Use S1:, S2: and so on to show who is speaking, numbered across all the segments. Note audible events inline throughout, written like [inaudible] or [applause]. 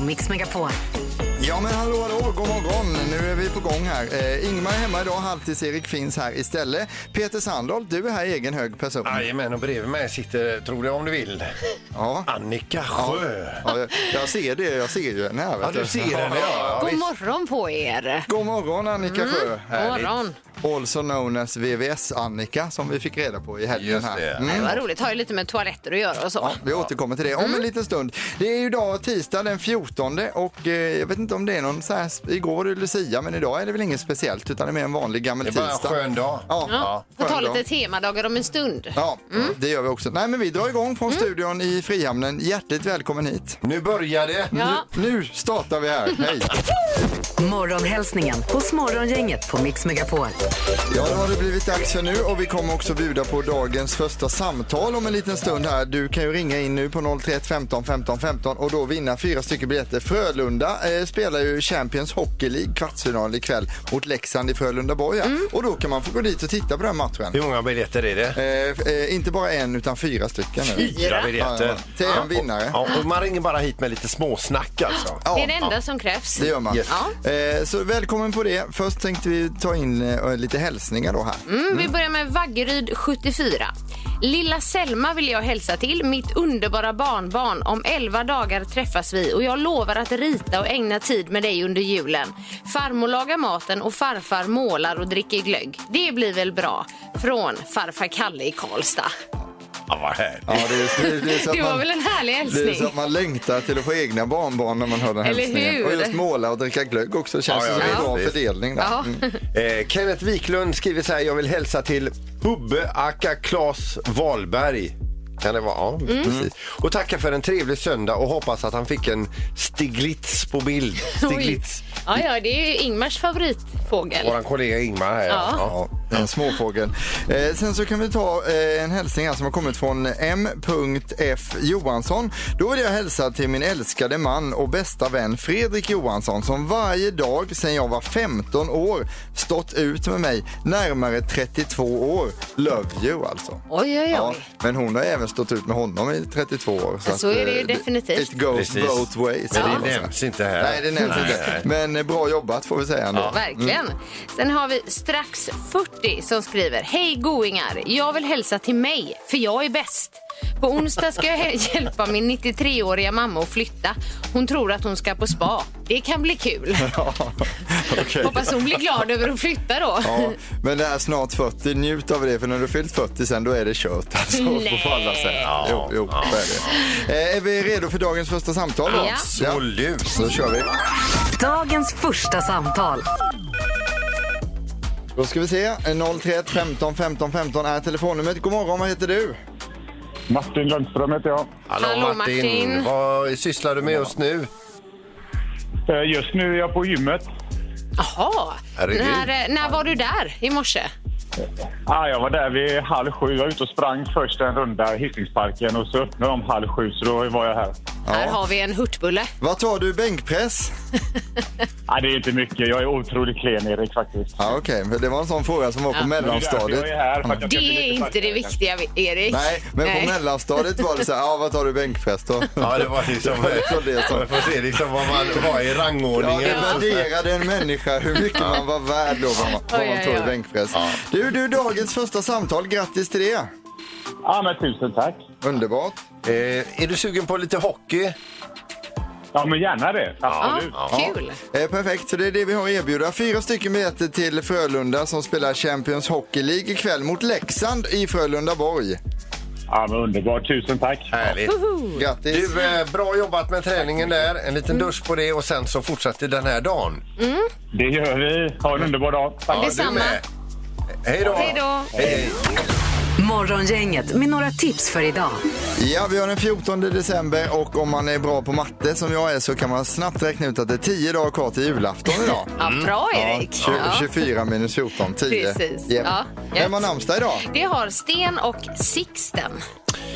S1: Mix Megapol.
S2: Ja men hallå hallå, god morgon. Nu är vi på gång här. Eh, Ingmar är hemma idag, halvtids-Erik finns här istället. Peter Sandholt, du är här i egen hög person.
S3: Jajamän, och bredvid mig sitter, tror det om du vill,
S2: [laughs] Ja.
S3: Annika Sjö.
S2: Ja, jag, jag ser det, jag ser ju henne här. vet
S3: Ja, du ser henne, ja.
S1: God morgon på er.
S2: [laughs] God morgon Annika Sjö.
S1: Mm. God morgon.
S2: Also known as VVS-Annika som vi fick reda på i helgen
S3: Just
S2: här. Mm.
S3: det.
S1: Det var roligt. Har ju lite med toaletter att göra och så. Mm.
S2: Ja, vi återkommer till det om en liten stund. Det är ju idag tisdag den 14 och eh, jag vet inte om det är någon så här, igår var det Lucia men idag är det väl inget speciellt utan det är mer en vanlig gammal
S3: Det är
S2: tisdag.
S3: bara en skön dag.
S2: Ja,
S1: Ja,
S2: skön
S1: Får ta
S2: dag.
S1: lite temadagar om en stund. Mm.
S2: Ja, det gör vi också. Nej men vi drar igång från studion i Frihamnen. Hjärtligt välkommen hit.
S3: Nu börjar det.
S1: Ja.
S2: Nu startar vi här. Hej!
S1: Morgonhälsningen hos Morgongänget på Mix Megapol.
S2: Ja, då har det blivit dags för nu och vi kommer också bjuda på dagens första samtal om en liten stund här. Du kan ju ringa in nu på 031 15 15 15 och då vinna fyra stycken biljetter. Frölunda eh, spelar ju Champions Hockey League kvartsfinal ikväll mot Leksand i Frölunda Borg. ja.
S1: Mm.
S2: Och då kan man få gå dit och titta på den matchen.
S3: Hur många biljetter är det?
S2: Eh, eh, inte bara en utan fyra stycken nu.
S3: Fyra
S2: Ja,
S3: biljetter.
S2: ja. Till en vinnare.
S3: Ja, och man ringer bara hit med lite småsnack alltså.
S2: Ja,
S1: Det är det enda som krävs.
S2: Det gör man.
S3: Yes.
S2: Eh, så välkommen på det. Först tänkte vi ta in eh, lite hälsningar då här.
S1: Mm, vi börjar med Vaggeryd 74. Lilla Selma vill jag hälsa till, mitt underbara barnbarn. Om 11 dagar träffas vi och jag lovar att rita och ägna tid med dig under julen. Farmor lagar maten och farfar målar och dricker glögg. Det blir väl bra? Från farfar Kalle i Karlstad.
S3: Ja, vad härligt.
S2: Ja, det, är- det, är- det, är så att
S1: Det var
S2: man-
S1: väl en härlig
S2: Det är så
S1: hälsning?
S2: att man längtar till att få egna barnbarn när man hör den
S1: Eller
S2: hälsningen.
S1: hur?
S2: Och just måla och dricka glögg också känns
S3: Ja,
S2: det
S3: ja,
S2: som en
S3: ja.
S2: bra
S3: Visst.
S2: fördelning. Där.
S1: Ja.
S2: Mm.
S3: Eh, Kenneth Wiklund skriver så här, jag vill hälsa till Hubbe Aka Claes Wahlberg. Kan det vara?
S2: Mm.
S3: Ja, precis. Och tacka för en trevlig söndag och hoppas att han fick en Stiglitz på bild.
S2: [laughs]
S3: Stiglitz.
S1: Ja, ja, det är ju Ingmars favoritfågel.
S3: Vår kollega Ingmar här.
S1: Ja.
S2: Ja, en småfågel. Eh, sen så kan vi ta eh, en hälsning här som har kommit från M.F. Johansson. Då vill jag hälsa till min älskade man och bästa vän Fredrik Johansson som varje dag sedan jag var 15 år stått ut med mig närmare 32 år. Love you alltså.
S1: Oj, oj,
S2: Ja,
S1: oj.
S2: men hon har även stått ut med honom i 32 år.
S1: Så
S2: att,
S1: är det ju
S2: eh,
S1: definitivt.
S2: It goes
S3: Precis.
S2: both ways.
S3: Men
S2: kan man
S3: det
S2: säga.
S3: nämns inte här.
S2: Nej, det nämns
S3: Nej,
S2: inte.
S3: nej.
S2: Men eh, bra jobbat får vi säga ändå.
S1: Verkligen.
S2: Mm.
S1: Sen har vi strax 40 som skriver Hej goingar, jag vill hälsa till mig för jag är bäst. På onsdag ska jag he- [laughs] hjälpa min 93-åriga mamma att flytta. Hon tror att hon ska på spa. Det kan bli
S2: [laughs]
S1: kul.
S2: [laughs] Okej.
S1: Hoppas hon blir glad över att flytta då. [laughs]
S2: Ja, men det här snart 40, njut av det för när du har fyllt 40 sen då är det kört. Alltså,
S1: Nej.
S2: på alla sätt. Jo, jo, så är, det. Eh, är vi redo för dagens första samtal? då?
S1: Ja.
S3: Så lus.
S2: Då kör vi.
S4: Dagens första samtal.
S2: Då ska vi se. Eh, 031 15 15 15 är telefonnumret. God morgon, vad heter du?
S5: Martin Lundström heter jag.
S3: Hallå,
S1: Hallå,
S3: Martin.
S1: Martin.
S3: Vad sysslar du med just nu?
S5: Eh, Just nu är jag på gymmet.
S1: Jaha,
S3: Herregud.
S1: när, eh, när var du där i morse?
S5: Ah, jag var där vid halv sju. Jag var ute och sprang först en runda i Hisingsparken och så öppnade de halv sju, så då var jag här.
S1: Här har vi en hurtbulle.
S2: Vad tar du? Bänkpress?
S5: Ah, det är inte mycket. Jag är otroligt klen, Erik, faktiskt.
S2: Ja, Okej, för det var en sån fråga som var på
S1: Ja.
S5: Men det är därför
S2: mellanstadiet.
S5: jag är här, för att jag
S1: Det
S5: ska bli
S1: är
S5: lite
S1: inte det viktiga,
S5: starkare.
S1: Erik.
S2: Nej, men på mellanstadiet var det så här, ja vad tar du bänkpress då?
S3: Ja, det var [laughs] liksom...
S2: var det som-
S3: Man får se liksom vad man var i
S2: Ja,
S3: rangordningen.
S2: det värderade en människa hur mycket man var värd då, vad man, vad
S1: Oj,
S2: man
S1: oj,
S2: tog i
S1: oj.
S2: bänkpress. Du, du, dagens första samtal, grattis till det.
S5: Ja, men tusen tack.
S2: Underbart.
S3: Eh, är du sugen på lite hockey?
S5: Ja, men gärna det.
S1: Ja,
S5: Absolut.
S1: Kul.
S2: Eh, perfekt, så det är det vi har att erbjuda. Fyra stycken biljetter till Frölunda som spelar Champions Hockey League ikväll mot Leksand i Frölunda Borg.
S5: Ja, men underbart. Tusen tack.
S3: Härligt.
S2: Grattis.
S3: Du, eh, bra jobbat med träningen där. En liten
S1: Mm.
S3: dusch på det och sen så fortsätter den här dagen.
S5: Det gör vi. Ha en underbar dag. Tack.
S3: Ja,
S1: Detsamma.
S3: du med. Hej då.
S1: Hej då.
S2: Mm.
S3: Hej.
S4: Morgongänget med några tips för idag.
S2: Ja, vi har den 14 december och om man är bra på matte som jag är så kan man snabbt räkna ut att det är 10 dagar kvar till julafton idag.
S1: Ja, bra,
S2: Ja,
S1: Erik.
S2: 20,
S1: Ja.
S2: 24 minus 14, 10.
S1: Precis.
S2: Yep.
S1: Ja,
S2: Vem har namnsdag idag?
S1: Det har Sten och Sixten.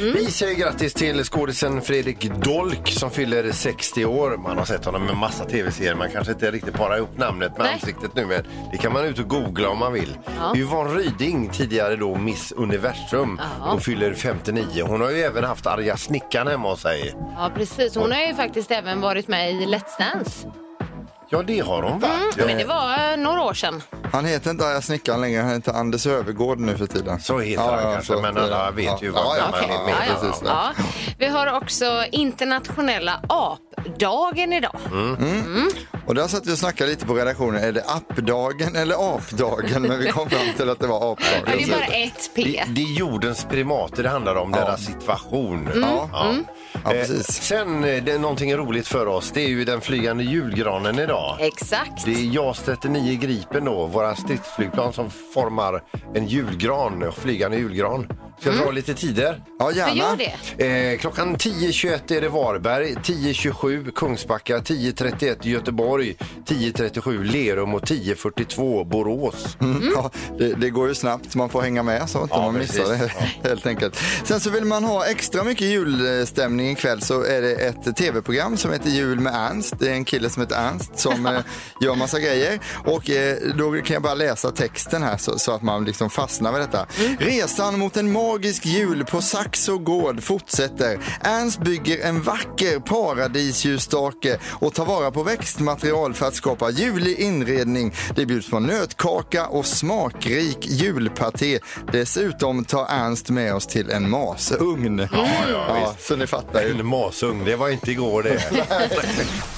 S3: Vi säger grattis till skådisen Fredrik Dolk som fyller 60 år. Man har sett honom i en massa tv-serier. Man kanske inte riktigt parar ihop namnet med
S1: Nej.
S3: ansiktet nu, men det kan man ut och googla om man vill.
S1: Ja.
S3: Yvonne Ryding, tidigare då Miss Universum,
S1: Ja.
S3: hon fyller 59. Hon har ju även haft arga snickaren hemma hos sig.
S1: Ja, precis. Hon har ju faktiskt även varit med i Let's Dance.
S3: Ja, det har hon varit.
S1: Mm, Men det var eh, några år sedan.
S2: Han heter inte Arga snickaren längre, han heter Anders Övergård nu för tiden.
S3: Så heter han kanske,
S2: så-
S3: men alla vet ju vad
S2: ja,
S3: gammal
S2: ja,
S1: Okej.
S3: han är.
S2: ja,
S1: Ja, ja.
S2: precis.
S1: Ja. Vi har också internationella apdagen idag.
S2: Mm. Och där satt vi och snackade lite på redaktionen, är det appdagen eller apdagen? Men vi kom fram till att det var apdagen.
S1: Ja, det är bara ett P.
S3: Det, det är jordens primater det handlar om, deras situation.
S1: Mm,
S2: Ja. Ja, precis.
S3: Eh, sen eh, det är någonting roligt för oss, det är ju den flygande julgranen idag.
S1: Exakt.
S3: Det är JAS 39 Gripen då, våra stridsflygplan som formar en julgran, flygande julgran. Ska jag dra lite tider?
S2: Ja,
S1: Vi
S2: gärna.
S1: gör det.
S3: Eh, klockan 10.21 är det Varberg, 10.27 Kungsbacka, 10.31 Göteborg, 10.37 Lerum och 10.42 Borås.
S2: Mm. Ja, det, det går ju snabbt, man får hänga med så att
S3: Ja,
S2: man missar
S3: precis.
S2: det [laughs] helt enkelt. Sen så vill man ha extra mycket julstämning ikväll så är det ett tv-program som heter Jul med Ernst. Det är en kille som heter Ernst
S3: [laughs]
S2: som eh, gör massa grejer. Och eh, då kan jag bara läsa texten här så, så att man liksom fastnar vid detta.
S3: Mm.
S2: Resan mot en magisk jul på Saxo gård fortsätter. Ernst bygger en vacker paradisljusstake och tar vara på växtmaterial för att skapa julig inredning. Det bjuds på nötkaka och smakrik julpaté. Dessutom tar Ernst med oss till en masugn. Ja, så ni fattar ju.
S3: En masugn, det var inte igår det.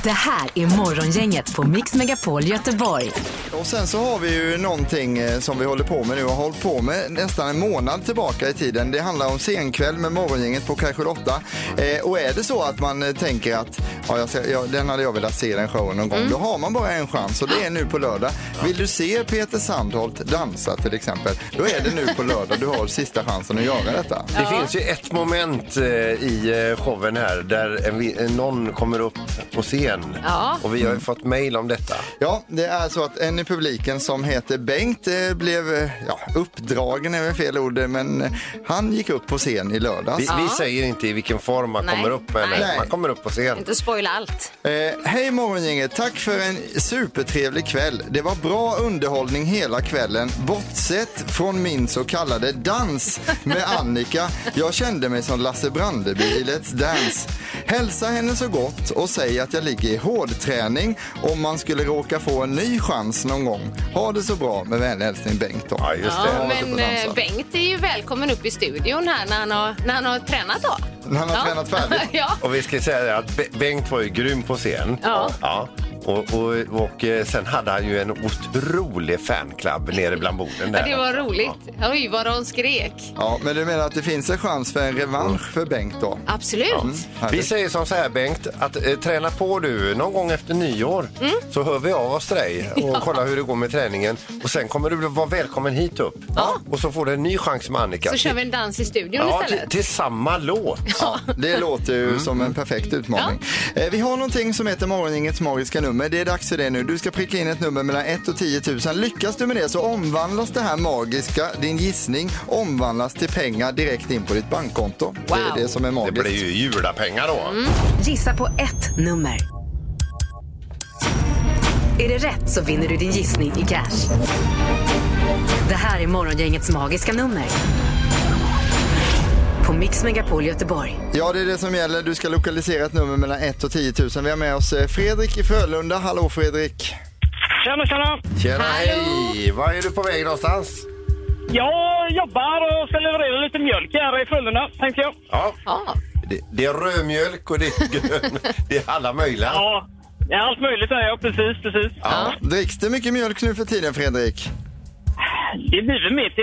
S4: Det här är Morgongänget på Mix Megapol Göteborg.
S2: Och sen så har vi ju någonting eh, som vi håller på med nu och har hållit på med nästan en månad tillbaka i tiden. Det handlar om senkväll med morgongänget på kanske 8. Eh, och är det så att man eh, tänker att ja, jag ska, ja, den hade jag velat se den showen någon gång, då har man bara en chans och det är nu på lördag. Vill du se Peter Sandholt dansa till exempel, då är det nu på lördag du har sista chansen att göra detta.
S3: Det finns ju ett moment eh, i eh, showen här där en, vi- en, någon kommer upp på scen.
S1: Ja.
S3: Och vi har ju fått mejl om detta.
S2: Ja, det är så att en i publiken som heter Bengt eh, blev eh, ja, uppdragen, är väl fel ord, eh, men eh, han gick upp på scen i lördags.
S3: Vi, vi säger inte i vilken form man
S1: Nej.
S3: kommer upp men eh,
S2: Nej.
S3: man kommer upp på scen.
S1: Inte spoila allt.
S2: Eh, hej morgongänget, tack för en supertrevlig kväll. Det var bra underhållning hela kvällen, bortsett från min så kallade dans
S1: [laughs]
S2: med Annika. Jag kände mig som Lasse Brandeby i Let's Dance. Hälsa henne så gott och säg att jag ligger i hårdträning om man skulle råka få en ny chans någon gång. Ha det så bra, med vänlig hälsning Bengt. Då.
S3: Ja, just
S1: Ja,
S3: det.
S2: lite på
S1: men
S2: dansa.
S1: eh, Bengt är ju välkommen upp i studion här när han har, när han har tränat då.
S2: När han har
S1: ja.
S2: tränat färdigt.
S1: [laughs] ja.
S3: Och vi ska säga det att Be- Bengt var ju grym på scen.
S1: Ja.
S3: Och, och, och eh, sen hade han ju en otrolig fanclub nere bland borden där.
S1: Ja, det var
S3: också.
S1: roligt. Oj, vad de skrek.
S2: Ja, men du menar att det finns en chans för en revansch för Bengt då?
S1: Absolut.
S3: Ja. Vi säger som så här Bengt, att eh, träna på du någon gång efter nyår
S1: Mm.
S3: så hör vi av oss
S1: [laughs]
S3: till dig och kollar hur det går med träningen och sen kommer du vara välkommen hit upp och så får du en ny chans med Annika.
S1: Så kör vi en dans i studion
S3: ja, till,
S1: istället.
S3: till samma låt.
S2: Ja, det låter ju
S3: Mm.
S2: som en perfekt utmaning. Eh, Vi har någonting som heter Morgongängets magiska nummer. Det är dags för det nu. Du ska pricka in ett nummer mellan 1 och 10 000. Lyckas du med det så omvandlas det här magiska, din gissning, omvandlas till pengar direkt in på ditt bankkonto. Det är
S1: Wow.
S2: det som är
S3: Det
S2: magiskt.
S3: blir ju julapengar då.
S4: Gissa på ett nummer. Är det rätt så vinner du din gissning i cash. Det här är Morgongängets magiska nummer. På Mix Megapol Göteborg.
S2: Ja, det är det som gäller. Du ska lokalisera ett nummer mellan 1 och 10 000. Vi har med oss eh, Fredrik i Frölunda. Hallå Fredrik!
S6: Tjena, tjena!
S3: Tjena,
S1: Hallå.
S3: hej! Var är du på väg någonstans?
S6: Jag jobbar och ska leverera lite mjölk här i Frölunda, tänkte jag.
S3: Ja,
S1: Ja.
S3: det, det är rödmjölk och
S1: [laughs]
S3: det är grön. Det är alla möjliga.
S6: Ja, ja allt möjligt är jag. Precis, precis.
S1: Ja.
S2: Dricks det mycket mjölk nu för tiden Fredrik?
S6: Det blir väl mitt i,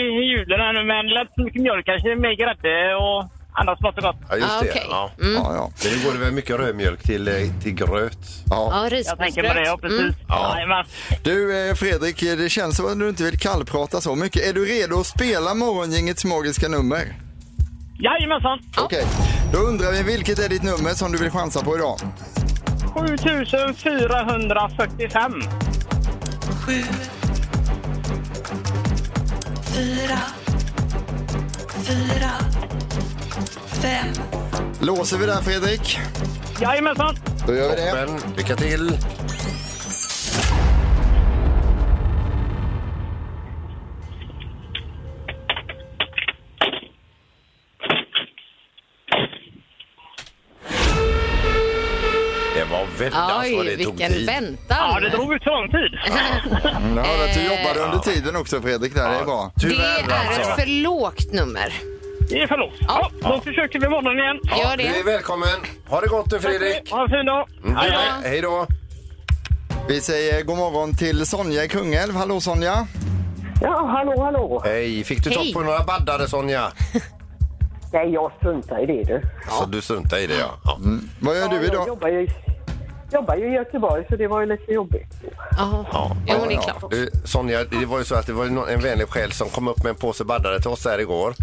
S6: i julen här nu, men lätt så mycket mjölk kanske, mer grädde och annat smått och gott.
S3: Ja, just
S1: Ah,
S3: det.
S1: okej.
S3: Ja.
S2: Ja, ja.
S3: Men nu går det väl mycket rödmjölk till, eh, till gröt.
S1: Ja, Mm.
S6: Jag tänker på det, Mm. ja
S1: risgrynsgröt.
S6: precis.
S3: Ja.
S6: Jajamän.
S2: Du eh, Fredrik, eh, det känns som att du inte vill kallprata så mycket. Är du redo att spela Morgongängets magiska nummer?
S6: Jajamensan!
S2: Okej, då undrar vi vilket är ditt nummer som du vill chansa på idag?
S6: 7445.
S7: Fyra, fyra,
S2: Låser vi där Fredrik?
S6: Jajamensan!
S2: Då gör vi det.
S3: Toppen. Lycka till. Det var väldans Alltså, vad
S1: Oj,
S3: det tog
S1: vilken
S3: tid.
S1: väntan.
S6: Ja, det drog ut lång tid.
S2: Mm, Jag hörde att du
S1: Eh,
S2: jobbade under tiden också Fredrik. Där. Det är bra.
S3: Tyvärr
S1: Det är
S3: alltså.
S1: ett för lågt nummer.
S6: Det är för lågt. Ja, då försöker vi imorgon igen.
S1: Gör
S3: Du är
S1: det.
S3: välkommen. Ha det gott du Fredrik.
S6: Ha en fin dag!
S3: Mm, du med. Hej då.
S2: Vi säger god morgon till Sonja i Kungälv. Hallå Sonja!
S7: Ja, hallå, hallå.
S3: Hej. Fick du
S1: Hej.
S3: topp på några baddare Sonja?
S7: Nej, jag struntar i det du.
S3: Så du struntar i det ja. ja.
S2: Vad gör du
S7: Jag
S2: idag?
S7: jobbar ju, jobbar ju i Göteborg så det var ju lite jobbigt.
S1: Ja, jo, det är klart.
S3: Du, Sonja, det var ju så att det var ju nå- en vänlig själ som kom upp med en påse baddare till oss här igår.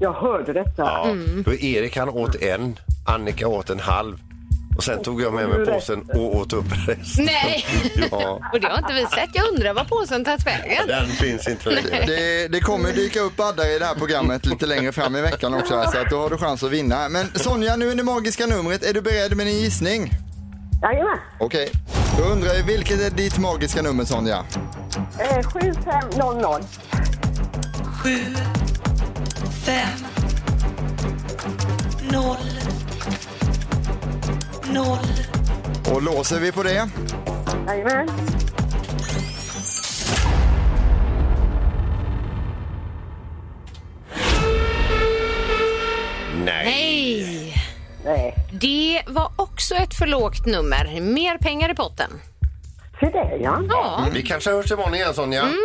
S7: Jag hörde detta.
S3: Ja.
S1: Mm.
S3: Då Erik han åt en, Annika åt en halv. Och sen tog jag med mig påsen och åt upp resten.
S1: Nej,
S3: Ja,
S1: och det har inte vi sett. Jag undrar var påsen tagit vägen.
S3: den finns inte längre.
S2: Det, det kommer dyka upp baddar i det här programmet lite längre fram i veckan också här, så att då har du chans att vinna. Men Sonja, nu är det magiska numret. Är du beredd med din gissning?
S7: Jajamän.
S2: Okej. Då undrar jag, vilket är ditt magiska nummer Sonja?
S7: Eh, 7500.
S8: 0 0
S2: Och låser vi på det?
S7: Jajamän.
S3: Nej.
S1: Nej,
S7: Nej.
S1: det var också ett för lågt nummer. Mer pengar i potten.
S7: Se där ja.
S1: Ja,
S3: Vi kanske hörs imorgon igen Sonja.
S1: Mm.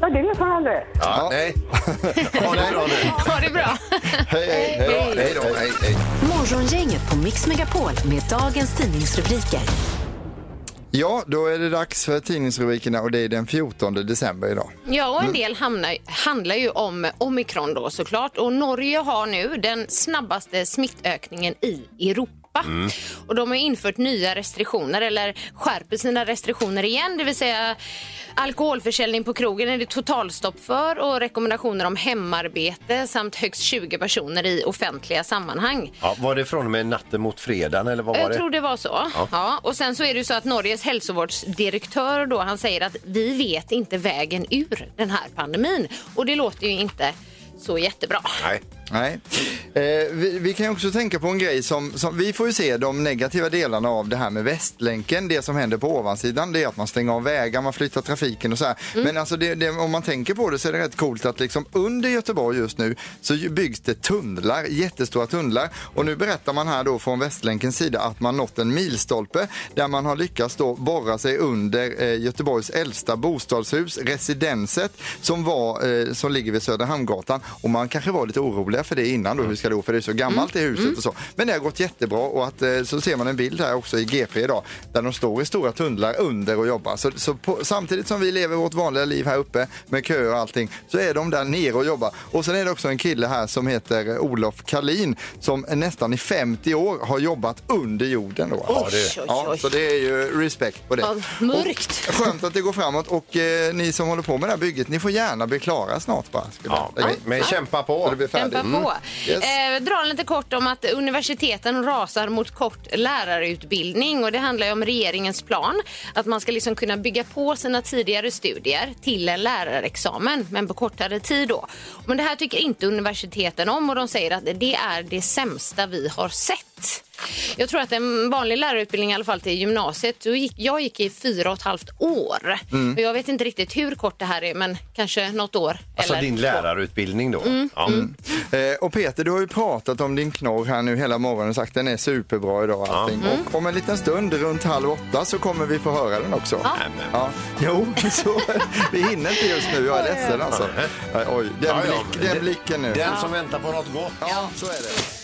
S7: Ja, det vet man aldrig.
S3: Ja, nej. Ha det bra
S1: [laughs]
S3: nu.
S1: ha det bra.
S2: Hej, hej, hej.
S3: Hej då. Hej, hej.
S4: Morgongänget på Mix Megapol med dagens tidningsrubriker.
S2: Ja, då är det dags för tidningsrubrikerna och det är den 14 december idag.
S1: Ja, och en del hamnar, handlar ju om omikron då såklart. Och Norge har nu den snabbaste smittökningen i Europa. Och de har ju infört nya restriktioner eller skärper sina restriktioner igen. Det vill säga alkoholförsäljning på krogen är det totalstopp för och rekommendationer om hemarbete samt högst 20 personer i offentliga sammanhang.
S3: Ja, var det från och med natten mot fredagen eller vad var
S1: Jag
S3: det?
S1: tror det var så. Ja. Och sen så är det ju så att Norges hälsovårdsdirektör då, han säger att vi vet inte vägen ur den här pandemin. Och det låter ju inte så jättebra.
S3: Nej.
S2: Nej. Eh, vi, vi kan ju också tänka på en grej som, som, vi får ju se de negativa delarna av det här med Västlänken. Det som händer på ovansidan det är att man stänger av vägar, man flyttar trafiken och så här. Men alltså det, det, om man tänker på det så är det rätt coolt att liksom under Göteborg just nu så ju- byggs det tunnlar, jättestora tunnlar. Och nu berättar man här då från Västlänkens sida att man nått en milstolpe där man har lyckats då borra sig under eh, Göteborgs äldsta bostadshus, residenset, som, var, eh, som ligger vid Södra Hamngatan. Och man kanske var lite oroliga för det innan då, hur ska det gå, för det är så gammalt i huset och så. Men det har gått jättebra och att, eh, så ser man en bild här också i GP idag, där de står i stora tunnlar under och jobbar. Så, så på, samtidigt som vi lever vårt vanliga liv här uppe med köer och allting, så är de där nere och jobbar. Och sen är det också en kille här som heter eh, Olof Kalin som nästan i 50 år har jobbat under jorden då.
S1: Oj, oj,
S2: Ja,
S1: oj.
S2: så det är ju respekt på det.
S1: Ja, mörkt.
S2: Och skönt att det går framåt och eh, ni som håller på med det här bygget, ni får gärna bli klara snart bara. skulle
S3: Ja,
S2: jag
S3: men,
S2: lägga in.
S3: men kämpa
S2: Så
S3: på.
S2: det blir färdigt. Mm.
S1: Kämpa på.
S3: Mm.
S2: Yes.
S1: Eh, dra lite kort om att universiteten rasar mot kort lärarutbildning. Och det handlar ju om regeringens plan att man ska liksom kunna bygga på sina tidigare studier till en lärarexamen, men på kortare tid. Då. Men det här tycker inte universiteten om och de säger att det är det sämsta vi har sett. Jag tror att en vanlig lärarutbildning, i alla fall till gymnasiet, då gick, jag gick i fyra och ett halvt år.
S3: Mm.
S1: Och jag vet inte riktigt hur kort det här är, men kanske något år.
S3: Alltså
S1: eller Mm.
S3: din
S1: två.
S3: lärarutbildning då. Ja.
S2: Eh, och Peter, du har ju pratat om din knorr här nu hela morgonen och sagt att den är superbra idag. och Allting.
S1: Mm.
S2: Och om en liten stund, runt halv åtta, så kommer vi få höra den också. Ja. Jo, så, [laughs] vi hinner inte just nu. Jag är ledsen alltså. Nej, Oj, den,
S3: Ja, ja,
S2: blick, den blicken nu.
S3: Den som väntar på något gott.
S2: Ja, så är det.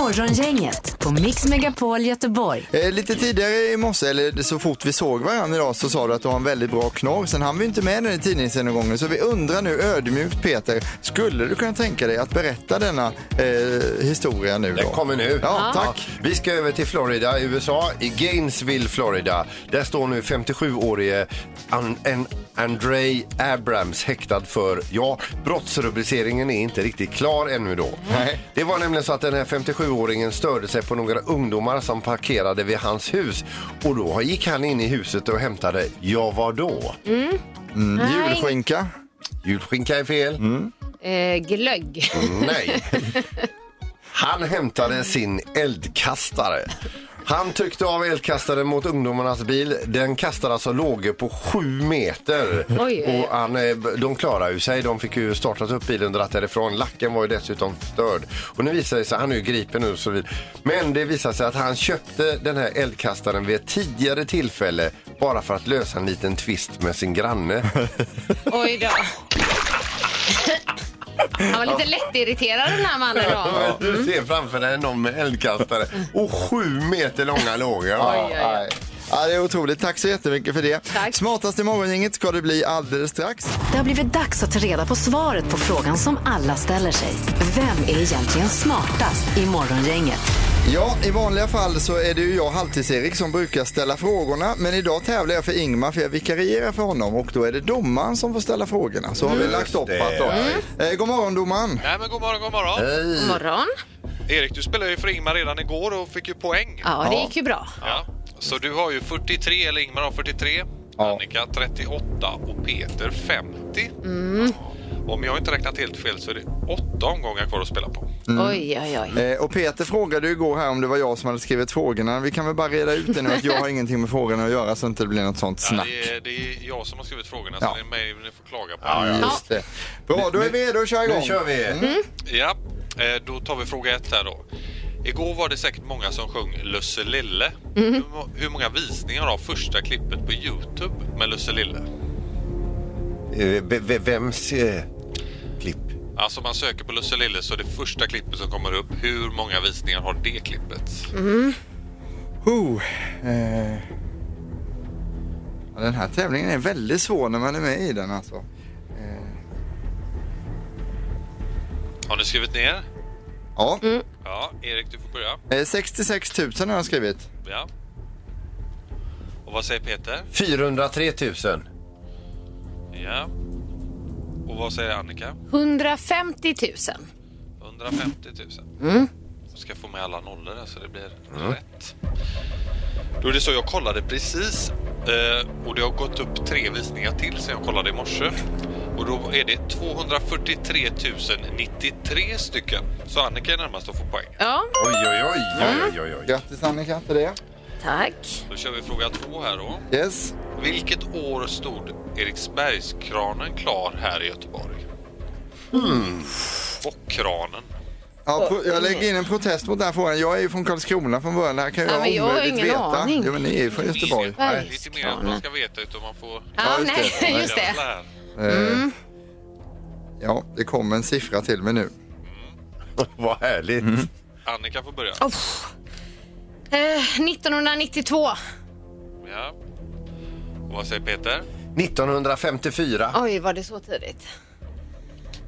S4: Morgongänget på Mix Megapol Göteborg.
S2: Eh, lite tidigare i morse, eller så fort vi såg varandra idag, så sa du att du har en väldigt bra knorr. Sen hann vi inte med den i tidningsgenomgången, så vi undrar nu ödmjukt Peter, skulle du kunna tänka dig att berätta denna eh, historia nu då?
S3: Den kommer nu.
S2: Ja, tack.
S3: Vi ska över till Florida i USA, i Gainesville, Florida. Där står nu 57-årige An- en Andre Abrams häktad för, ja, brottsrubriceringen är inte riktigt klar ännu då.
S2: Nej.
S3: Det var nämligen så att den här 57-åringen störde sig på några ungdomar som parkerade vid hans hus och då gick han in i huset och hämtade, ja vad då?
S2: Mm, julskinka.
S3: Julskinka är fel.
S1: Eh, glögg.
S3: Mm. Nej. Han hämtade sin eldkastare. Han tryckte av eldkastaren mot ungdomarnas bil. Den kastade alltså lågor på sju meter.
S1: Oj, oj.
S3: Och han, eh, de klarade ju sig. De fick ju startat upp bilen och dratt därifrån. Lacken var ju dessutom förstörd. Och nu visar det sig, han är ju gripen nu och så vidare. Men det visar sig att han köpte den här eldkastaren vid ett tidigare tillfälle bara för att lösa en liten tvist med sin granne.
S1: Oj då. Han var lite lättirriterad den här mannen då.
S3: [laughs] Ja, men Du ser framför dig någon med eldkastare och sju meter långa lågor.
S1: Oj, oj, oj.
S2: Nej. Ja, det är otroligt. Tack så jättemycket för det.
S1: Tack.
S2: Smartaste morgongänget ska det bli alldeles strax.
S4: Det har blivit dags att ta reda på svaret på frågan som alla ställer sig. Vem är egentligen smartast i Morgongänget?
S2: Ja, i vanliga fall så är det ju jag, Halvtids-Erik, som brukar ställa frågorna. Men idag tävlar jag för Ingmar för jag vikarierar för honom och då är det domaren som får ställa frågorna. Så har vi lagt upp
S3: det.
S2: att då. Eh, god morgon domaren.
S9: Nej men god morgon, god morgon.
S6: Eh.
S1: God morgon.
S9: Erik, du spelade ju för Ingmar redan igår och fick ju poäng.
S1: Ja, det gick ju bra.
S9: Ja. Så du har ju 43, eller Ingmar har 43, Annika 38 och Peter 50.
S2: Mm.
S9: Om jag inte räknat helt fel så är det åtta omgångar kvar att spela på.
S1: Oj, oj, oj.
S2: Eh, och Peter frågade ju igår här om det var jag som hade skrivit frågorna. Vi kan väl bara reda ut det nu att jag har ingenting med frågorna att göra så inte det blir något sånt
S9: Ja,
S2: snack.
S9: det, är, det är jag som har skrivit frågorna
S2: Ja.
S9: så det är mig ni får klaga på.
S2: Just det. Bra, då är vi redo att köra igång.
S3: Nu kör vi.
S9: Ja, eh, då tar vi fråga ett här då. Igår var det säkert många som sjöng Lusse Lille.
S2: Mm.
S9: Hur, må- hur många visningar har första klippet på Youtube med Lusse Lille?
S3: Eh, v- v- Vems eh, klipp?
S9: Alltså man söker på Lusse Lille så är det första klippet som kommer upp. Hur många visningar har det klippet?
S2: Mm. Oh, eh. Ja, Den här tävlingen är väldigt svår när man är med i den alltså.
S9: Har ni skrivit ner?
S2: Ja,
S1: Mm.
S9: Ja, Erik du får börja.
S2: eh, 66 000 har jag skrivit.
S9: Ja. Och vad säger Peter?
S3: 403 000.
S9: Ja. Och vad säger Annika?
S1: 150 000.
S9: 150 000. Jag ska få med alla nollor där så det blir rätt. Då är det så, jag kollade precis eh, och det har gått upp tre visningar till sen jag kollade i morse. Och då är det 243 093 stycken. Så Annika är närmast att få poäng.
S1: Ja,
S3: Oj, oj, oj. oj, oj, oj.
S2: Grattis Annika till det.
S1: tack.
S9: Då kör vi fråga två här då.
S2: Yes.
S9: Vilket år stod Eriksbergskranen klar här i Göteborg? Och kranen.
S2: Ja, pro- jag lägger in en protest mot den här frågan. Jag är ju från Karlskrona från början. Det här kan ju
S1: Ja, men jag har
S2: omöjligt
S1: ingen
S2: veta.
S1: aning.
S2: Jo, men ni är ju från Göteborg.
S9: Det är lite mer än man
S1: Bergskranen.
S9: ska veta utan man får...
S1: Ja,
S2: just
S1: nej,
S2: det.
S1: just det.
S9: jävla här.
S1: Mm.
S2: Eh, Ja, det kom en siffra till mig nu.
S3: Vad härligt.
S9: Annika får börja.
S1: Eh, 1992.
S9: Ja. Och vad säger Peter?
S3: 1954.
S1: Oj, var det så tidigt?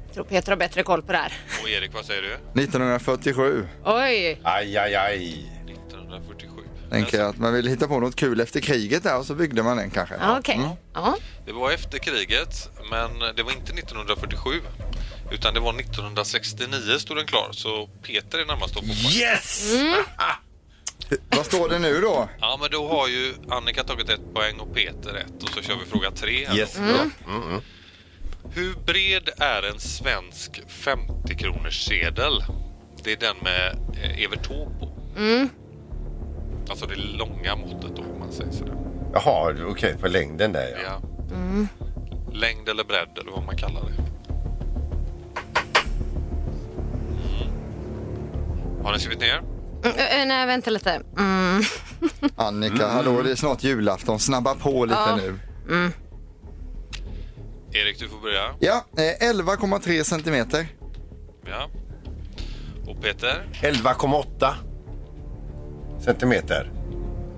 S1: Jag tror Peter har bättre koll på det här.
S9: Och Erik, vad säger du?
S2: 1947
S1: Oj,
S3: Aj, aj, aj.
S9: 1947.
S2: tänker jag att man ville hitta på något kul efter kriget där och så byggde man den kanske. Mm.
S1: ja, okej.
S9: Mm.
S1: Ja.
S9: Det var efter kriget, men det var inte 1947. Utan det var 1969 stod den klar, så Peter är närmast
S3: Mm.
S9: att få poäng.
S3: Yes!
S2: Vad står det nu då?
S9: Ja, men då har ju Annika tagit ett poäng och Peter ett. Och så kör vi fråga tre. här då.
S3: Yes. Mm.
S9: Hur bred är en svensk 50-kronorssedel? Det är den med eh, Evert Taube på. Alltså det långa måttet då, om man säger sådär.
S3: Jaha, okej, på längden där ja.
S9: Ja. Längd eller bredd eller vad man kallar det. Mm. Har ni skrivit ner?
S1: Mm, ö, ö, nej, vänta lite. Mm.
S2: Annika, hallå, det är snart julafton. Snabba på lite nu.
S9: Erik, du får börja.
S2: Ja, eh, 11,3 centimeter.
S9: Ja. Och Peter?
S3: 11,8 centimeter.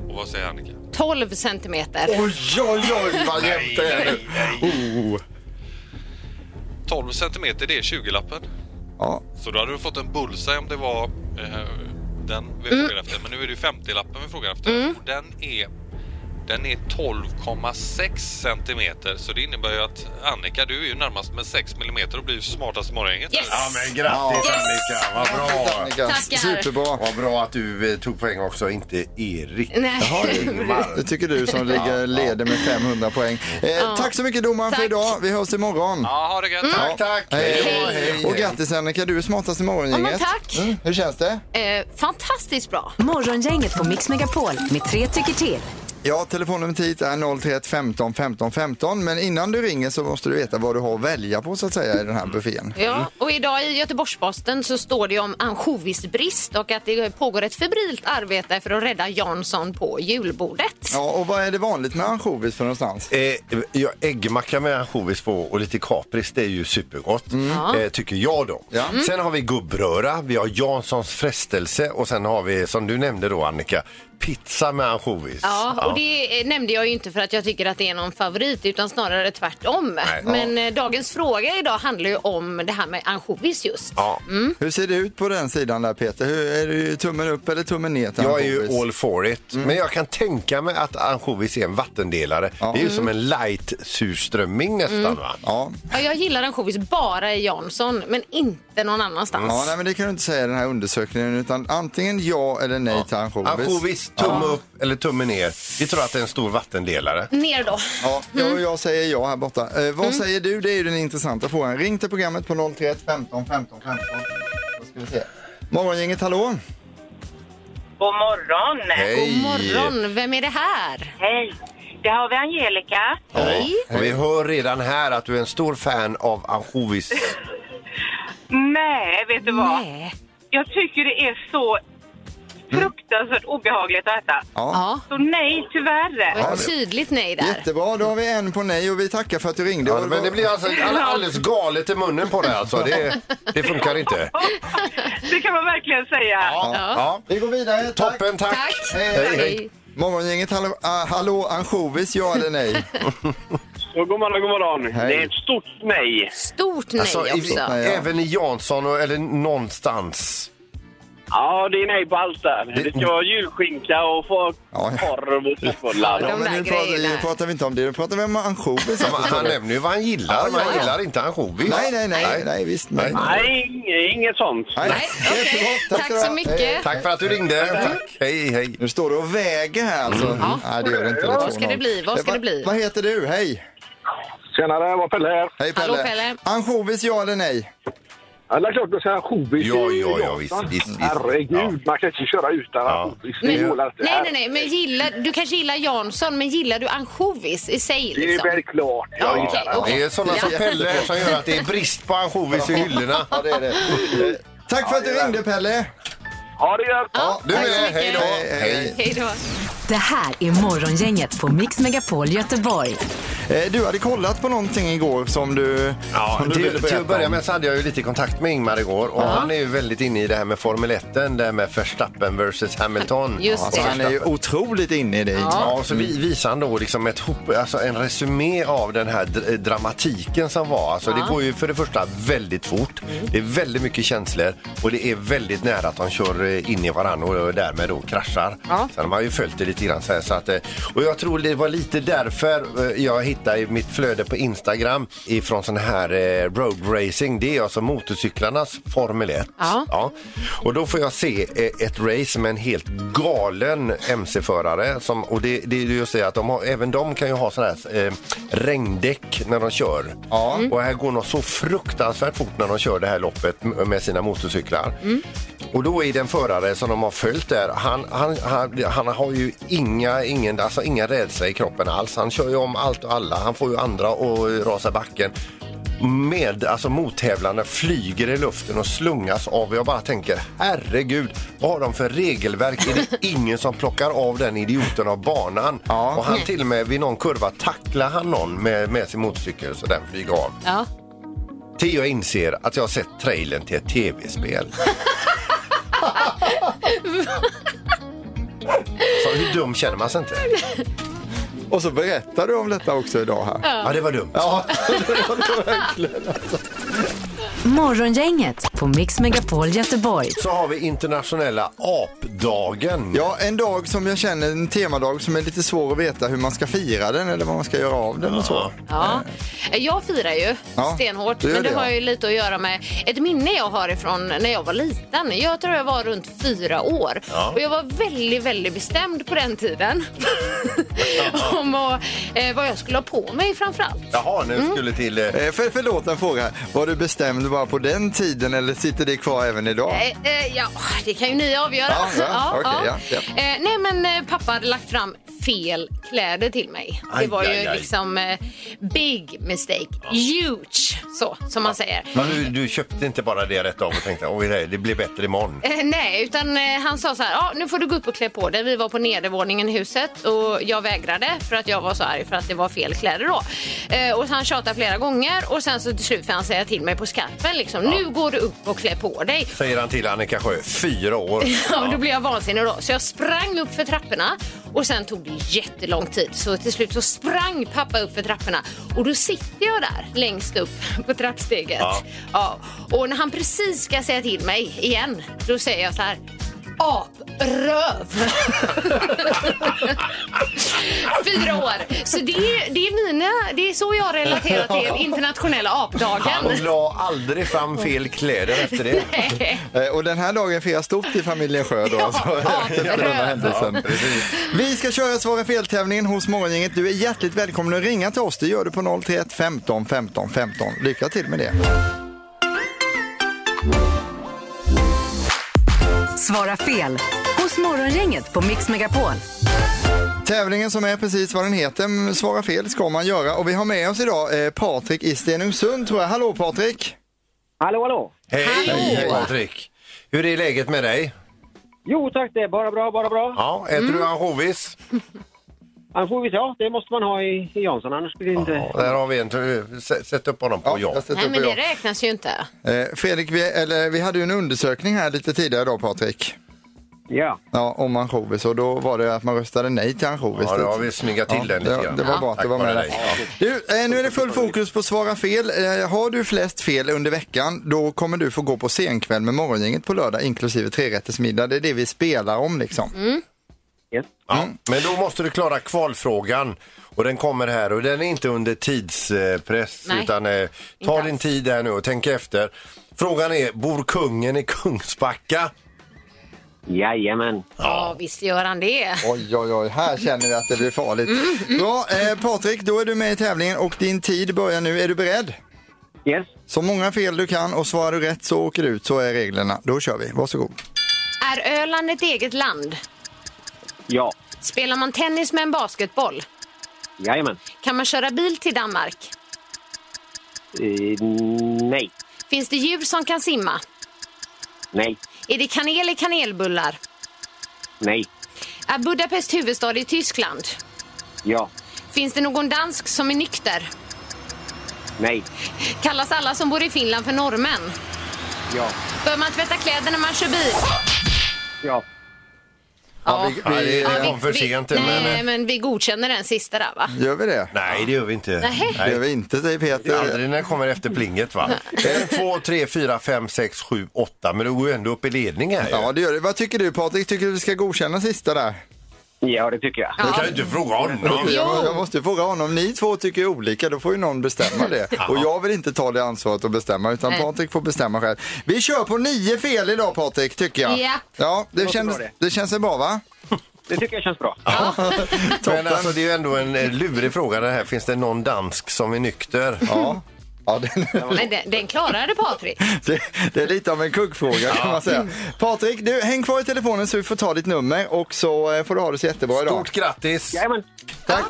S9: Och vad säger Annika?
S1: 12 centimeter.
S2: Oj, oj, oj vad jämnt det är. nu. Oh.
S9: 12 centimeter, det är 20-lappen.
S2: Ja,
S9: Så då hade du fått en bullseye om det var eh, den vi frågar efter. Men nu är det ju 50-lappen vi frågar efter. Och den är, den är 12,6 centimeter. Så det innebär ju att Annika, du är ju närmast med 6 millimeter och blir ju smartast i morgongänget.
S1: Yes!
S3: Ja, men grattis
S2: Ja.
S3: Annika, vad
S2: Grattis,
S3: bra!
S2: Annika.
S1: Tackar.
S2: Superbra.
S3: Vad bra att du eh, tog poäng också, inte Erik.
S1: Nej. Jaha, det är
S2: Det [laughs]
S3: Ingmar.
S2: tycker du som ligger leder med 500 poäng. Eh, Tack så mycket domaren för
S1: Tack.
S2: idag. Vi hörs imorgon.
S9: Ja, ha det gött.
S3: Tack, tack!
S2: Hej.
S3: då, hej.
S2: Och grattis Annika, du är smartast i morgongänget.
S1: Ja, men tack.
S2: Mm, hur känns det?
S1: Eh, fantastiskt bra.
S4: Morgongänget på Mix Megapol med tre tycker till.
S2: Ja, telefonnumret hit är 031 15 15 15. Men innan du ringer så måste du veta vad du har att välja på så att säga i den här buffén.
S1: Ja, och idag i Göteborgs-Posten så står det om ansjovisbrist och att det pågår ett febrilt arbete för att rädda Jansson på julbordet.
S2: Ja, och vad är det vanligt med ansjovis för någonstans?
S3: Eh, ja, äggmacka med ansjovis på och lite kapris, det är ju supergott. Eh, tycker jag då.
S2: Mm. Ja. Mm.
S3: Sen har vi gubbröra, vi har Janssons frestelse och sen har vi, som du nämnde då Annika, pizza med ansjovis.
S1: Ja, och det eh, nämnde jag ju inte för att jag tycker att det är någon favorit utan snarare tvärtom.
S3: Nej.
S1: Men eh, dagens fråga idag handlar ju om det här med ansjovis just.
S3: Ja.
S1: Mm.
S2: Hur ser det ut på den sidan där Peter? Hur, är det ju tummen upp eller tummen ner till
S3: Jag är
S2: ansjovis?
S3: ju all for it,
S2: Mm.
S3: men jag kan tänka mig att ansjovis är en vattendelare. Det är ju som en light surströmming nästan. Va?
S2: Mm. Ja.
S1: Ja, jag gillar ansjovis bara i Jansson men inte någon annanstans.
S2: ja, nej men det kan du inte säga i den här undersökningen utan antingen ja eller nej till ansjovis.
S3: Ansjovis, tumme upp eller tumme ner. Vi tror att det är en stor vattendelare.
S1: Ner då.
S2: Ja, jag,
S1: Mm.
S2: jag säger ja här borta. Eh, vad säger du? Det är ju den intressanta frågan. Ring till programmet på 031 15 15 15. Då ska vi se. Morgongänget, hallå?
S10: God morgon!
S1: God morgon, vem är det här?
S10: Hej! Det har vi Angelica.
S1: Hej.
S3: Och vi hör redan här att du är en stor fan av ansjovis.
S10: Nej, vet du vad?
S1: Nej.
S10: Jag tycker det är så fruktansvärt obehagligt att äta.
S2: Ja.
S1: Ja,
S10: Så nej, tyvärr.
S1: det var ett tydligt nej där.
S2: Jättebra, då har vi en på nej och vi tackar för att du ringde.
S3: Ja, men det blir alltså all- alldeles galet i munnen på dig alltså. Det, det funkar inte.
S10: Det kan man verkligen säga.
S3: Ja. Ja.
S2: Vi går vidare. Tack.
S3: Toppen, tack!
S1: Tack.
S3: Hej, hej.
S1: Hej.
S2: Morgongänget, hallå, ah, hallå ansjovis, ja
S1: [laughs]
S2: eller nej?
S5: Så, god morgon, god morgon.
S2: Hej.
S5: Det är ett stort nej.
S1: Stort nej
S3: Alltså, i,
S1: också.
S2: nej.
S3: Även i Jansson och, eller någonstans.
S5: Ja, det är nej på allt där. Det ska vara julskinka och få
S2: Ja, ja.
S5: korv och köttbullar.
S1: Ja,
S2: Ja,
S1: de
S2: men
S1: där
S2: nu pratar, nu
S1: grejerna.
S2: pratar vi inte om det, nu pratar vi om ansjovis. här,
S3: Han,
S2: förstår
S3: han
S2: du.
S3: nämner ju vad han gillar,
S2: Ja,
S3: men han
S2: ja, ja.
S3: gillar inte ansjovis.
S2: Nej, nej, nej, nej, visst. Nej, nej.
S5: Nej, inget, inget sånt.
S1: Nej, okej.
S2: Jättebra,
S1: Tack
S2: ska du ha.
S1: så mycket.
S2: Hej, hej.
S3: Tack för att du ringde. Tack. Hej, hej.
S2: Nu står du och väger här alltså. Nej, det gör det inte. är
S1: Mm. Vad ska
S2: 2-0.
S1: det bli? Vad ska
S2: Eh, va-
S1: det bli?
S2: Vad heter du? Hej!
S5: Tjenare, det var Pelle här.
S2: Hej Pelle.
S1: Hallå, Pelle.
S2: Ansjovis, ja eller nej?
S5: Alla klart att säga ansjovis.
S3: Ja, ja, ja, visst, visst, visst.
S5: Herregud, man kan inte köra utan ansjovis. Det
S1: Men,
S5: håller inte.
S1: nej, nej, nej, men gillar, du kanske gillar Jansson, men gillar du ansjovis i sig?
S5: Det
S1: Liksom?
S5: är väl klart. Jag
S1: Ja,
S5: gillar
S1: okej,
S5: det.
S1: okej.
S3: Det är sådana som
S1: Ja.
S3: Pelle som gör att det är brist på ansjovis i hyllorna.
S2: Ja, det är det. Eh, Tack för att du ringde Pelle!
S5: Ha det gött!
S1: Ja,
S3: Du
S1: tack så
S3: med,
S1: mycket.
S3: hej då.
S2: Hej, hej.
S3: Hej.
S1: Hej då.
S4: Det här är Morgongänget på Mix Megapol Göteborg.
S2: Eh, Du hade kollat på någonting igår som du,
S3: Ja,
S2: som du ville
S3: till, till
S2: berätta
S3: att börja
S2: om.
S3: med så hade jag ju lite kontakt med Ingmar igår och han är ju väldigt inne i det här med Formel 1, det här med Verstappen versus Hamilton.
S1: Just
S2: Alltså,
S1: det.
S2: han är ju otroligt inne i det.
S3: Ja, och så vi, visar han då liksom ett hop, alltså en resumé av den här dr- eh, dramatiken som var. Alltså Det går ju för det första väldigt fort, det är väldigt mycket känslor och det är väldigt nära att de kör eh, in i varandra och därmed då kraschar. Sen har man ju följt det lite grann så här. Så att, eh, och jag tror det var lite därför eh, jag hittade i mitt flöde på Instagram ifrån sån här eh, road racing, det är alltså motorcyklarnas Formel 1.
S1: Ja.
S3: Ja. Och då får jag se eh, ett race med en helt galen MC-förare. Som, och det, det är ju just det att de har, även de kan ju ha sådana här eh, regndäck när de kör.
S2: Ja.
S3: Och här går de så fruktansvärt fort när de kör det här loppet m- med sina motorcyklar. Och då är den förare som de har följt där, han, han, han, han har ju inga, ingen, alltså inga rädsla i kroppen alls. Han kör ju om allt och alla. Han får ju andra att rasa i backen med, alltså mottävlarna flyger i luften och slungas av. Jag bara tänker, herregud, vad har de för regelverk? Är det ingen som plockar av den idioten av banan?
S2: Ja.
S3: Och han till och med vid någon kurva tacklar han någon med, med sin motorcykel så den flyger av.
S1: Ja.
S3: Till jag inser att jag har sett trailern till ett tv-spel. Så hur dum känner man sig inte?
S2: Och så berättar du om detta också idag här.
S3: Ja, det var dumt.
S2: Ja, det var det verkligen.
S4: Morgongänget på Mix Megapol Göteborg.
S3: Så har vi internationella apdagen.
S2: Ja, en dag som jag känner, en temadag som är lite svår att veta hur man ska fira den eller vad man ska göra av den och så.
S1: Ja. Jag firar ju
S2: Ja,
S1: stenhårt,
S2: du gör
S1: men det,
S2: det,
S1: har
S2: ja.
S1: ju lite att göra med ett minne jag har ifrån när jag var liten. Jag tror jag var runt fyra år
S3: Ja.
S1: och jag var väldigt, väldigt bestämd på den tiden [laughs] om att, eh, vad jag skulle ha på mig framför allt.
S3: Jaha, nu skulle till... eh,
S2: Eh, För, förlåt en fråga. här. Var du bestämd bara på den tiden eller sitter det kvar även idag?
S1: Eh, eh, ja, det kan ju ni avgöra.
S2: Ja, ja, okej, ja,
S1: Eh, nej, men eh, pappa hade lagt fram fel kläder till mig.
S3: Aj,
S1: det var ju
S3: aj, aj.
S1: liksom eh, big mistake. Huge, så som man säger.
S3: Men du, du köpte inte bara det rätt av och tänkte oj, nej, det blir bättre imorgon.
S1: Eh, nej, utan eh, han sa så här, ja nu får du gå upp och klä på dig. Vi var på nedervåningen i huset och jag vägrade för att jag var så arg för att det var fel kläder då. Eh, och han tjatade flera gånger och sen så till slut får han säga till mig på skarpen liksom, nu går du upp och klä på dig.
S3: Säger han till Annika Sjö, fyra år.
S1: Ja, men då blev jag vansinnig då. Så jag sprang upp för trapporna och sen tog det jättelång tid. Så till slut så sprang pappa upp för trapporna och då sitter jag där längst upp [laughs] på trappsteget.
S3: Ja.
S1: Ja. Och när han precis ska säga till mig igen, då säger jag så här Apröv! [laughs] Fyra år. Så det är, det är mina, det är så jag relaterar [laughs] till internationella
S3: Han
S1: apdagen.
S3: la aldrig fram fel kläder efter det.
S2: Eh, Och den här dagen firas stort i familjen Sjö
S1: [laughs]
S2: då.
S1: Ja,
S2: alltså,
S1: ja,
S2: efter den här
S1: röd.
S2: händelsen. Vi ska köra Svara fel-tävlingen hos Morgongänget. Du är hjärtligt välkommen att ringa till oss. Det gör du på 031 15 15 15. Lycka till med det.
S4: Svara fel hos Morgongänget på Mix Megapol.
S2: Tävlingen som är precis vad den heter, mm, Svara fel ska man göra. Och vi har med oss idag eh, Patrik i Stenungsund tror jag. Hallå Patrik!
S6: Hallå, hallå!
S3: Hej, hej Patrik! Hur är läget med dig?
S6: Jo tack, det är bara bra, bara bra.
S3: Ja, äter du ansjovis?
S6: Ansjovis, ja, det måste man ha i, i Jansson, annars blir det inte...
S3: Ja, där har vi en. S- Sätt upp honom på
S2: jag
S3: ja.
S1: [laughs]
S2: sätter
S1: Nej,
S2: upp
S1: men det
S2: jag.
S1: räknas ju inte.
S2: Eh, Fredrik, vi, eller, vi hade ju en undersökning här lite tidigare idag Patrik.
S6: Ja.
S2: Ja, om ansjovis och då var det att man röstade nej till ansjovis.
S3: Ja, då har vi snyggat till den lite
S2: det,
S3: grann.
S2: det var bra att
S3: Tack
S2: du var
S3: vare
S2: med.
S3: dig.
S2: där. Du, eh, nu är det full fokus på svara fel. Eh, har du flest fel under veckan, då kommer du få gå på senkväll med Morgongänget på lördag, inklusive trerättersmiddag. Det är det vi spelar om liksom.
S3: Ja,
S2: Mm.
S3: men då måste du klara kvalfrågan. Och den kommer här och den är inte under tidspress
S1: Nej,
S3: utan eh,
S1: inte
S3: ta
S1: alls.
S3: din tid här nu och tänk efter. Frågan är, bor kungen i Kungsbacka?
S6: Jajamän.
S1: Ja, visst gör han det.
S2: Oj, oj, oj, här känner vi att det blir farligt. Bra, eh, Patrik, då är du med i tävlingen och din tid börjar nu. Är du beredd?
S6: Yes.
S2: Så många fel du kan och svarar du rätt så åker du ut, så är reglerna. Då kör vi, varsågod.
S1: Är Öland ett eget land?
S6: Ja.
S1: Spelar man tennis med en basketboll?
S6: Jajamän.
S1: Kan man köra bil till Danmark?
S6: Eh, nej.
S1: Finns det djur som kan simma?
S6: Nej.
S1: Är det kanel i kanelbullar?
S6: Nej.
S1: Är Budapest huvudstad i Tyskland?
S6: Ja.
S1: Finns det någon dansk som är nykter?
S6: Nej.
S1: Kallas alla som bor i Finland för norrmän?
S6: Ja.
S1: Bör man tvätta kläder när man kör bil?
S6: Ja.
S2: Ja, vi- vi-
S3: det
S2: ja,
S3: kom för sent.
S1: vi,
S3: men,
S1: nej,
S3: eh,
S1: men vi godkänner den sista där, va?
S2: Gör vi det?
S3: nej, det gör vi inte.
S1: Nej.
S2: Det gör vi inte, säger
S3: Det är
S2: Peter.
S3: Aldrig när den kommer efter plinget va? En, två, tre, fyra, fem, sex, sju, åtta. Men du går ju ändå upp i ledning här ju.
S2: Ja, det gör det. Vad tycker du Patrik? Tycker du vi ska godkänna sista där?
S6: Ja, det tycker jag.
S3: Du kan ju inte fråga honom.
S1: Jo.
S2: Jag, jag måste ju fråga honom. Ni två tycker olika, då får ju någon bestämma
S1: [laughs]
S2: det. Och jag vill inte ta det ansvaret att bestämma, utan
S1: Nej.
S2: Patrik får bestämma själv. Vi kör på nio fel idag Patrik, tycker jag.
S1: Ja.
S2: Ja, det,
S6: låter
S2: kändes,
S6: bra det.
S2: det känns
S6: [laughs]
S2: bra va?
S6: Det er tycker jag känns bra.
S3: Men alltså det är ju ändå en eh, lurig fråga det här. Finns det någon dansk som är nykter?
S2: Ja. Ja,
S6: [laughs]
S2: den,
S1: Men den, den klarade Patrik.
S2: [laughs] det, det är lite av en kuggfråga kan man säga. Patrik, du, häng kvar i telefonen så vi får ta ditt nummer och så eh, får du ha det så jättebra idag.
S3: Stort grattis!
S6: Jajamän.
S2: Tack.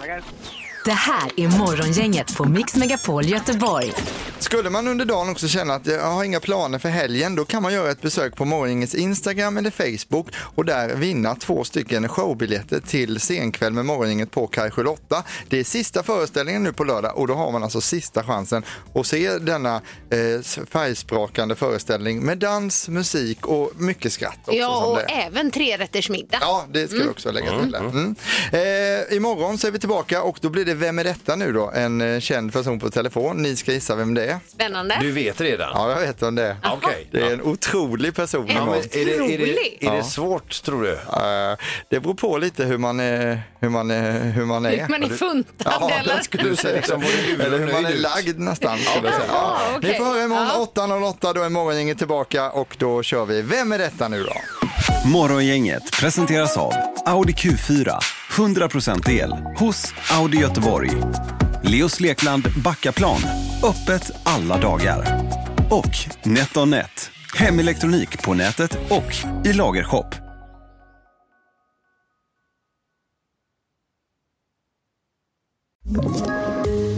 S4: Det här är Morgongänget på Mix Megapol Göteborg.
S2: Skulle man under dagen också känna att jag har inga planer för helgen, då kan man göra ett besök på Morgongängets Instagram eller Facebook och där vinna två stycken showbiljetter till scenkväll med Morgongänget på Kajsjö Lotta. Det är sista föreställningen nu på lördag och då har man alltså sista chansen att se denna eh, färgsprakande föreställning med dans, musik och mycket skratt. Också,
S1: Ja,
S2: som
S1: och
S2: det är.
S1: även trerättersmiddag.
S2: Ja, det ska jag också lägga till där. Mm. Eh, imorgon så är vi tillbaka och då blir det Vem är detta nu då? En eh, känd person på telefon. Ni ska gissa vem det är.
S1: Spännande.
S3: vet redan?
S2: Ja, jag vet vem det är.
S3: Jaha. Okej.
S2: Det är en otrolig person.
S1: En
S2: imorgon.
S3: Är det, är
S1: Rolig.
S3: det, är
S2: Ja.
S3: det svårt tror du?
S2: Eh, det beror på lite hur man är, hur man är, hur man är.
S1: Man är funtad
S2: Ja,
S1: eller?
S2: det skulle du säga.
S3: Liksom både gul och
S2: Eller hur man
S3: nöjd
S2: är
S3: ut.
S2: lagd nästan. Skulle jag säga.
S1: Jaha,
S2: Ja. Ni
S1: okej.
S2: får höra imorgon
S1: Ja.
S2: 8.08, då är morgongänget tillbaka och då kör vi Vem är detta nu då?
S11: Morgongänget presenteras av Audi Q4. 100% el hos Audi Göteborg. Leos Lekland Backaplan. Öppet alla dagar. Och NetOnNet. Hemelektronik på nätet och i lagershop.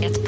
S12: Ett